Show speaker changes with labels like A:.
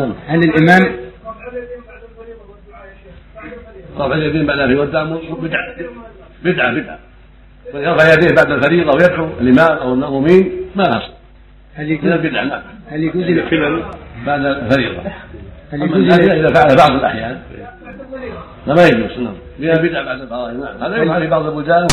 A: هل الإمام
B: رفع اليدين بعد الفريضة والدعاء بدعة بدعة بدعة من يرفع يديه بعد الفريضة ويدعو الإمام أو المأمومين ما له أصل
A: هل
B: من
A: يجوز
B: البدعة نعم
A: هل يجوز ال-
B: بعد الفريضة
A: هل
B: أما
A: يجوز
B: النافلة
A: ال-
B: إذا فعل بعض الأحيان فما يجوز نعم لأنها بدعة بعد الفرائض نعم هذا يفعل في بعض البلدان